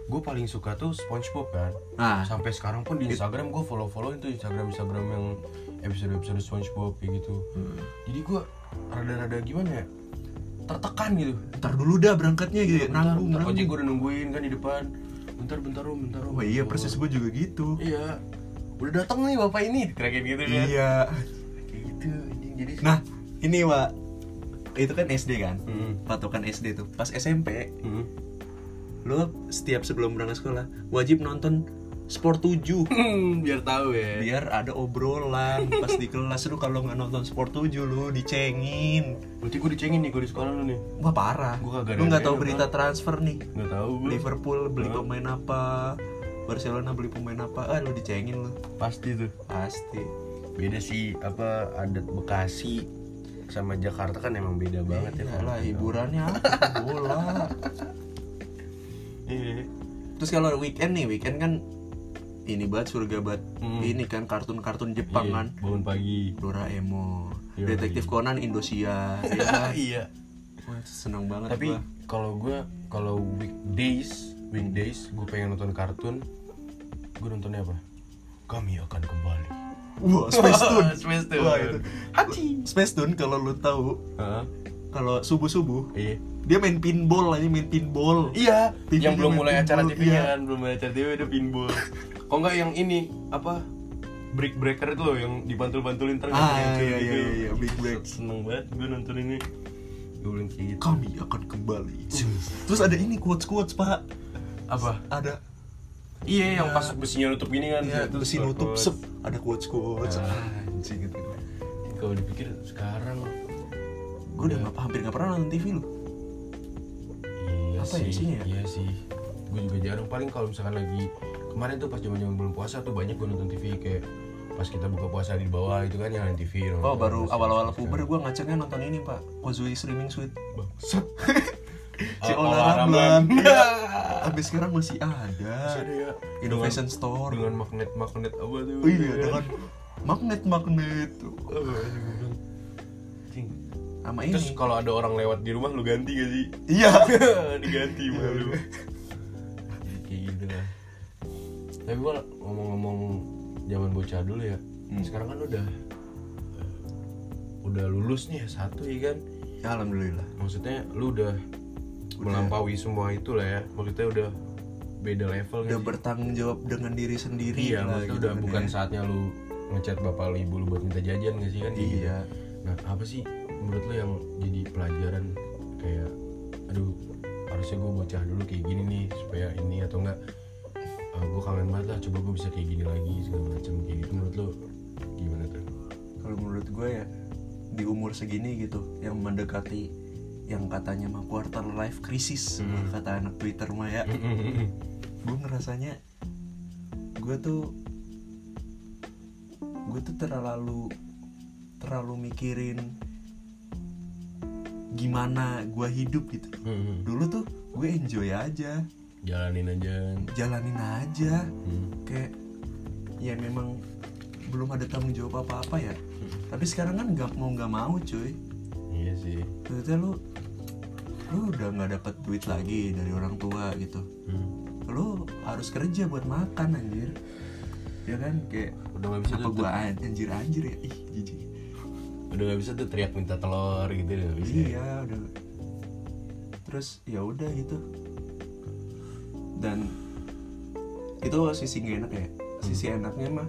[SPEAKER 1] gue paling suka tuh SpongeBob kan
[SPEAKER 2] Nah,
[SPEAKER 1] sampai sekarang pun di Instagram gue follow follow itu Instagram Instagram yang episode episode SpongeBob kayak gitu jadi gue rada-rada gimana ya tertekan gitu
[SPEAKER 2] ntar dulu dah berangkatnya gitu. Nanggung,
[SPEAKER 1] Iya, bentar ojek
[SPEAKER 2] nanggung.
[SPEAKER 1] gue udah nungguin kan di depan bentar bentar om bentar om
[SPEAKER 2] Oh iya, persis gue juga gitu.
[SPEAKER 1] iya udah datang nih bapak ini diterakin gitu kan
[SPEAKER 2] Iya.
[SPEAKER 1] kayak gitu anjing. jadi
[SPEAKER 2] Nah, ini Wak. Itu kan SD kan?
[SPEAKER 1] Hmm.
[SPEAKER 2] Patokan SD tuh. Pas SMP,
[SPEAKER 1] Hmm.
[SPEAKER 2] lo setiap sebelum berangkat sekolah wajib nonton Sport 7
[SPEAKER 1] Hmm, biar tahu ya
[SPEAKER 2] biar ada obrolan pas di kelas lu kalau nggak nonton Sport 7 lu dicengin.
[SPEAKER 1] berarti gue dicengin nih gue di sekolah lu nih
[SPEAKER 2] Wah parah.
[SPEAKER 1] Gua kagak ada
[SPEAKER 2] lu nggak
[SPEAKER 1] yang
[SPEAKER 2] tahu
[SPEAKER 1] main,
[SPEAKER 2] berita transfer nih.
[SPEAKER 1] nggak tahu gue
[SPEAKER 2] Liverpool beli pemain apa? Barcelona beli pemain apa? Ah lu dicengin lu.
[SPEAKER 1] pasti tuh
[SPEAKER 2] Pasti.
[SPEAKER 1] beda sih apa adat Bekasi sama Jakarta kan emang beda banget ya kalau
[SPEAKER 2] Iyalah
[SPEAKER 1] kita.
[SPEAKER 2] hiburannya apa? bola.
[SPEAKER 1] Iya.
[SPEAKER 2] Terus kalau weekend nih, weekend kan ini banget surga banget.
[SPEAKER 1] Hmm.
[SPEAKER 2] Ini kan kartun-kartun Jepang kan.
[SPEAKER 1] Iya, bangun pagi
[SPEAKER 2] Doraemon,
[SPEAKER 1] Yoi.
[SPEAKER 2] Detektif Conan Indonesia. ya kan?
[SPEAKER 1] iya
[SPEAKER 2] Wah, seneng banget
[SPEAKER 1] tapi
[SPEAKER 2] gua.
[SPEAKER 1] kalau gue kalau weekdays weekdays gue pengen nonton kartun gue nontonnya apa kami akan kembali
[SPEAKER 2] Wah, Space Tune.
[SPEAKER 1] Space
[SPEAKER 2] Wah, itu. Space Tune kalau lu tahu,
[SPEAKER 1] Hah?
[SPEAKER 2] kalau subuh-subuh
[SPEAKER 1] iya
[SPEAKER 2] dia main pinball aja main pinball.
[SPEAKER 1] iya
[SPEAKER 2] TV-nya
[SPEAKER 1] yang belum
[SPEAKER 2] main
[SPEAKER 1] mulai acara
[SPEAKER 2] pinball,
[SPEAKER 1] TV-nya
[SPEAKER 2] iya.
[SPEAKER 1] kan belum mulai acara TV udah pinball kok nggak yang ini apa break breaker itu loh yang dibantul bantulin terus
[SPEAKER 2] Ah,
[SPEAKER 1] yang
[SPEAKER 2] iya, iya,
[SPEAKER 1] gitu.
[SPEAKER 2] iya, Big Break.
[SPEAKER 1] seneng banget gue nonton ini gue bilang kayak gitu
[SPEAKER 2] Kami akan kembali.
[SPEAKER 1] Uhuh.
[SPEAKER 2] Terus ada ini quotes-quotes, Pak.
[SPEAKER 1] apa
[SPEAKER 2] Ada
[SPEAKER 1] iya yang pas besinya nutup gini kan
[SPEAKER 2] ya,
[SPEAKER 1] Terus
[SPEAKER 2] besi nutup,
[SPEAKER 1] quotes.
[SPEAKER 2] sep, ada quotes-quotes.
[SPEAKER 1] Ah.
[SPEAKER 2] Anjing gitu.
[SPEAKER 1] kalau dipikir sekarang
[SPEAKER 2] Gue udah nggak- hampir nggak pernah nonton TV lu.
[SPEAKER 1] iya
[SPEAKER 2] Apa ya
[SPEAKER 1] sih
[SPEAKER 2] isinya ya?
[SPEAKER 1] iya sih gue juga jarang paling kalau misalkan lagi kemarin tuh pas zaman zaman belum puasa tuh banyak gue nonton TV kayak pas kita buka puasa di bawah itu kan nyalain TV
[SPEAKER 2] Oh
[SPEAKER 1] nonton,
[SPEAKER 2] baru
[SPEAKER 1] terus-
[SPEAKER 2] awal-awal
[SPEAKER 1] terus-
[SPEAKER 2] puber gue ngacaknya nonton ini pak Ozui Streaming Suite
[SPEAKER 1] Bangsat.
[SPEAKER 2] Si
[SPEAKER 1] Ah,
[SPEAKER 2] Ola
[SPEAKER 1] Ola
[SPEAKER 2] Ramlan
[SPEAKER 1] Ramlan.
[SPEAKER 2] Iya. Sampai sekarang masih ada
[SPEAKER 1] Masih ada ya?
[SPEAKER 2] Innovation
[SPEAKER 1] Dengan-
[SPEAKER 2] Store
[SPEAKER 1] dengan magnet magnet apa tuh
[SPEAKER 2] Oh iya dengan magnet-magnet
[SPEAKER 1] Apa aja gua bilang. Cing.
[SPEAKER 2] Sama
[SPEAKER 1] terus
[SPEAKER 2] ini
[SPEAKER 1] kalau ada orang lewat di rumah lu ganti gak sih
[SPEAKER 2] Iya
[SPEAKER 1] diganti malu kayak gitu lah tapi gua ngomong-ngomong zaman bocah dulu ya
[SPEAKER 2] Hmm.
[SPEAKER 1] sekarang kan udah udah lulus nih satu ya kan
[SPEAKER 2] Ya Alhamdulillah
[SPEAKER 1] maksudnya lu udah, melampaui semua itu lah ya maksudnya udah beda level nggak
[SPEAKER 2] Udah bertanggung jawab dengan diri sendiri
[SPEAKER 1] Iya,
[SPEAKER 2] lah,
[SPEAKER 1] maksudnya
[SPEAKER 2] gitu
[SPEAKER 1] udah
[SPEAKER 2] kan
[SPEAKER 1] bukan
[SPEAKER 2] ya.
[SPEAKER 1] saatnya lu ngechat bapak lu ibu lu buat minta jajan gak sih kan? kayak gitu.
[SPEAKER 2] Iya
[SPEAKER 1] Nah, apa sih menurut lu yang jadi pelajaran kayak aduh harusnya gue bocah dulu kayak gini nih supaya ini atau enggak gue kangen banget lah coba gue bisa kayak gini lagi segala macam kayak gitu menurut lu gimana tuh?
[SPEAKER 2] Kalau menurut gue ya di umur segini gitu yang mendekati yang katanya mah quarter life crisis
[SPEAKER 1] Hmm.
[SPEAKER 2] kata anak Twitter mah ya gue ngerasanya gue tuh gue tuh terlalu terlalu mikirin gimana gue hidup gitu dulu tuh gue enjoy aja
[SPEAKER 1] Jalanin aja.
[SPEAKER 2] jalanin aja
[SPEAKER 1] Hmm.
[SPEAKER 2] kayak ya memang belum ada tanggung jawab apa apa ya tapi sekarang kan nggak mau nggak mau cuy
[SPEAKER 1] Iya sih.
[SPEAKER 2] ternyata lu lu udah nggak dapat duit lagi dari orang tua gitu
[SPEAKER 1] Hmm.
[SPEAKER 2] lu harus kerja buat makan anjir ya kan kayak
[SPEAKER 1] Udah gak bisa
[SPEAKER 2] apa
[SPEAKER 1] tuh,
[SPEAKER 2] gua an- anjir anjir ya ih jijik
[SPEAKER 1] udah gak bisa tuh teriak minta telur gitu udah gak bisa.
[SPEAKER 2] iya udah terus ya udah gitu dan itu sisi gak enak ya sisi
[SPEAKER 1] Hmm.
[SPEAKER 2] enaknya mah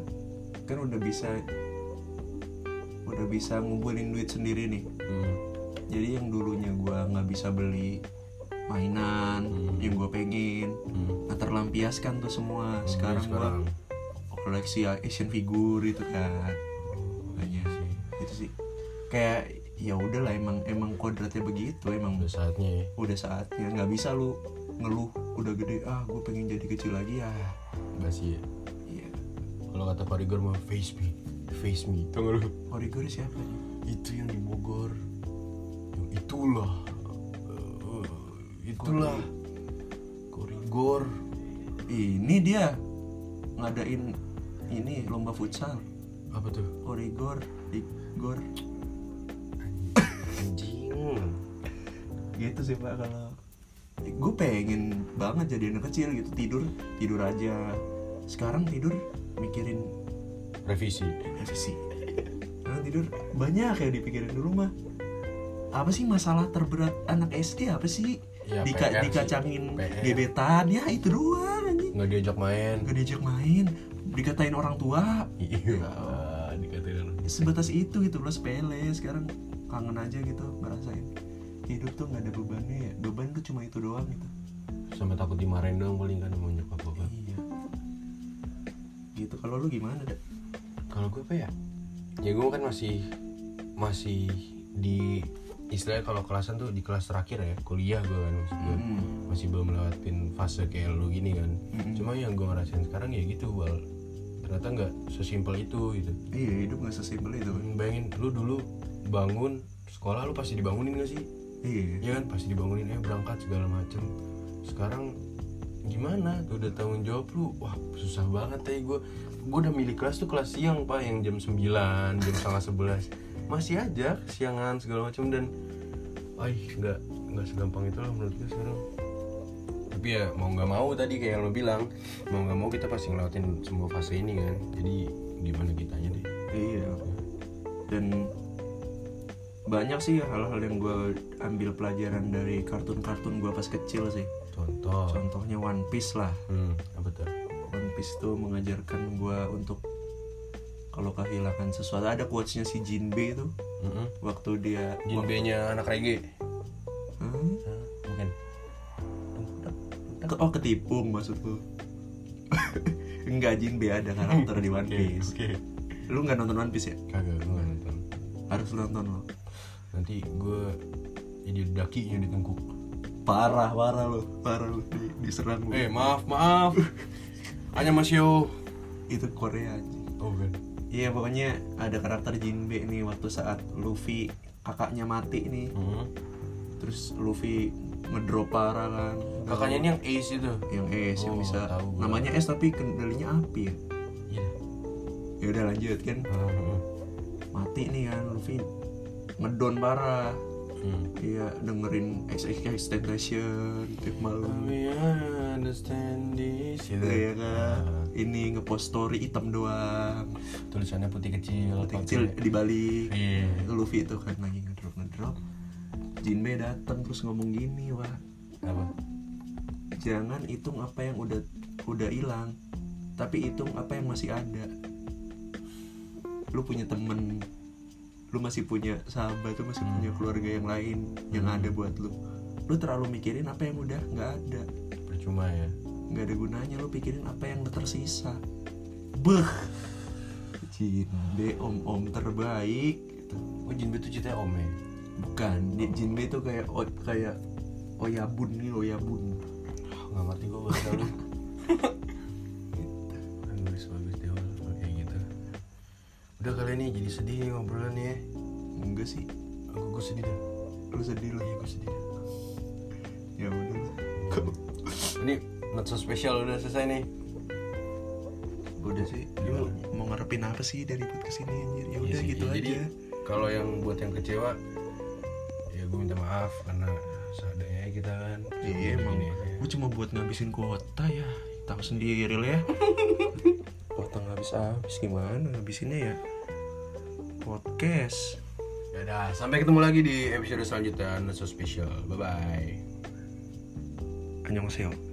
[SPEAKER 2] kan udah bisa udah bisa ngumpulin duit sendiri nih
[SPEAKER 1] Hmm.
[SPEAKER 2] jadi yang dulunya gua nggak bisa beli mainan yang gua pengen
[SPEAKER 1] Hmm. iya
[SPEAKER 2] nggak terlampiaskan tuh semua sekarang, gua
[SPEAKER 1] sekarang.
[SPEAKER 2] koleksi action figure itu kan banyak sih itu sih kayak ya udahlah emang emang kodratnya begitu emang
[SPEAKER 1] Udah saatnya ya.
[SPEAKER 2] udah saatnya nggak bisa lu ngeluh udah gede ah gue pengen jadi kecil lagi ya
[SPEAKER 1] Basi ya.
[SPEAKER 2] iya
[SPEAKER 1] Kalau kata Parigor mah face me, face me. Tau gak lu?
[SPEAKER 2] Origori siapa nih?
[SPEAKER 1] Itu yang di Bogor. Yang itulah. Eh, itulah. Korigor.
[SPEAKER 2] ini dia ngadain ini lomba futsal
[SPEAKER 1] Apa tuh?
[SPEAKER 2] Origor Igor
[SPEAKER 1] Anjing. Ya
[SPEAKER 2] gitu sih pak kalau gue pengen banget jadi anak kecil gitu tidur tidur aja sekarang tidur mikirin
[SPEAKER 1] revisi
[SPEAKER 2] apa sih sekarang tidur banyak ya dipikirin dulu mah apa sih masalah terberat anak SD apa sih
[SPEAKER 1] Ya,
[SPEAKER 2] Dika-
[SPEAKER 1] PR sih.
[SPEAKER 2] dikacangin
[SPEAKER 1] PR.
[SPEAKER 2] gebetan ya itu doang anjing
[SPEAKER 1] nggak diajak main
[SPEAKER 2] gak diajak main dikatain orang tua
[SPEAKER 1] iya dikatain orang.
[SPEAKER 2] sebatas itu gitu loh sepele sekarang kangen aja gitu ngerasain hidup tuh nggak ada bebannya ya beban tuh cuma itu doang gitu
[SPEAKER 1] sama takut dimarahin doang paling kan mau nyokap bokap
[SPEAKER 2] iya gitu kalau lu gimana dah
[SPEAKER 1] kalau gue apa ya ya gue kan masih masih di istilahnya kalau kelasan tuh di kelas terakhir ya kuliah gue kan maksud gue
[SPEAKER 2] Hmm.
[SPEAKER 1] masih belum melewatin fase kayak lu gini kan
[SPEAKER 2] Mm-mm.
[SPEAKER 1] cuma yang gue ngerasain sekarang ya gitu bal ternyata nggak sesimpel itu gitu
[SPEAKER 2] iya hidup nggak sesimpel itu kan
[SPEAKER 1] bayangin lu dulu bangun sekolah lu pasti dibangunin gak sih
[SPEAKER 2] iya
[SPEAKER 1] ya kan pasti dibangunin eh berangkat segala macem sekarang gimana tuh udah tanggung jawab lu wah susah banget tadi gue gue udah milih kelas tuh kelas siang pak yang jam 9 jam setengah 11 masih aja siangan segala macem dan Aih, nggak nggak segampang itu lah menurut gue sekarang tapi ya mau nggak mau tadi kayak yang lo bilang mau nggak mau kita pasti ngelewatin semua fase ini kan jadi gimana kitanya deh
[SPEAKER 2] iya dan banyak sih ya hal-hal yang gue ambil pelajaran dari kartun-kartun gue pas kecil sih
[SPEAKER 1] contoh
[SPEAKER 2] contohnya One Piece lah
[SPEAKER 1] hmm, apa tuh
[SPEAKER 2] One Piece tuh mengajarkan gue untuk kalau kehilangan sesuatu ada quotesnya si Jinbe tuh
[SPEAKER 1] Mm-mm.
[SPEAKER 2] waktu dia
[SPEAKER 1] Jinbe nya anak reggae
[SPEAKER 2] Hmm?
[SPEAKER 1] Hah, bukan
[SPEAKER 2] Ke- oh ketipung maksud lu enggak Jinbe ada karakter di One Piece
[SPEAKER 1] oke
[SPEAKER 2] lu nggak nonton One Piece ya
[SPEAKER 1] kagak gue nggak nonton
[SPEAKER 2] harus lu nonton lo
[SPEAKER 1] nanti gue jadi dakinya ditengkuk
[SPEAKER 2] parah parah lo parah lo di, diserang lu
[SPEAKER 1] eh maaf maaf hanya masio
[SPEAKER 2] itu Korea anjing.
[SPEAKER 1] oh kan
[SPEAKER 2] iya pokoknya ada karakter Jinbe nih waktu saat Luffy kakaknya mati nih
[SPEAKER 1] hmm.
[SPEAKER 2] terus Luffy ngedrop parah kan
[SPEAKER 1] kakaknya ini yang ace itu
[SPEAKER 2] yang es yang
[SPEAKER 1] Oh,
[SPEAKER 2] bisa
[SPEAKER 1] tahu gua.
[SPEAKER 2] namanya es tapi kendalinya api ya
[SPEAKER 1] iya
[SPEAKER 2] ya udah lanjut kan
[SPEAKER 1] Heeh.
[SPEAKER 2] mati nih kan Luffy ngedon parah
[SPEAKER 1] hmm.
[SPEAKER 2] Iya dengerin XXX Temptation tiap malam
[SPEAKER 1] We understand this gitu.
[SPEAKER 2] Iya kan Ini ngepost story hitam doang
[SPEAKER 1] Nah, Tulisannya putih kecil
[SPEAKER 2] Putih kecil
[SPEAKER 1] pakai-
[SPEAKER 2] dibalik
[SPEAKER 1] Iya
[SPEAKER 2] Luffy itu kan lagi ngedrop ngedrop Jinbe datang terus ngomong gini wah
[SPEAKER 1] Apa?
[SPEAKER 2] Jangan hitung apa yang udah udah hilang Tapi hitung apa yang masih ada Lu punya temen Lu masih punya sahabat Lu masih punya keluarga yang lain Yang ada buat lu Lu terlalu mikirin apa yang udah nggak ada
[SPEAKER 1] Percuma ya
[SPEAKER 2] nggak ada gunanya lu pikirin apa yang tersisa beh Jinbe om om terbaik gitu.
[SPEAKER 1] Oh Jinbe tuh ceritanya om ya?
[SPEAKER 2] bukan dia- Jinbe itu kayak o, kayak oyabun nih oyabun
[SPEAKER 1] Ah, Nggak ngerti gue bahasa lu Kan nulis Gitu. bagus dia orang kalau kayak gitu Udah kali ini jadi sedih nih ngobrolan ya
[SPEAKER 2] enggak sih
[SPEAKER 1] Aku gue sedih dah
[SPEAKER 2] lu sedih lu
[SPEAKER 1] Iya gue sedih dah
[SPEAKER 2] ya udah
[SPEAKER 1] Ini not so special udah selesai nih
[SPEAKER 2] udah sih lu mau ngarepin apa sih dari buat kesini anjir ya udah
[SPEAKER 1] Iya sih,
[SPEAKER 2] gitu
[SPEAKER 1] iya.
[SPEAKER 2] aja
[SPEAKER 1] Kalau yang buat yang kecewa Ya gue minta maaf karena seadanya kita kan
[SPEAKER 2] iya emang
[SPEAKER 1] Begini aja.
[SPEAKER 2] gue cuma buat ngabisin kuota ya tahu sendiri lah ya kuota ngabis habis gimana ngabisinnya ya podcast
[SPEAKER 1] Dadah, sampai ketemu lagi di episode selanjutnya Not So Special. Bye-bye.
[SPEAKER 2] 안녕하세요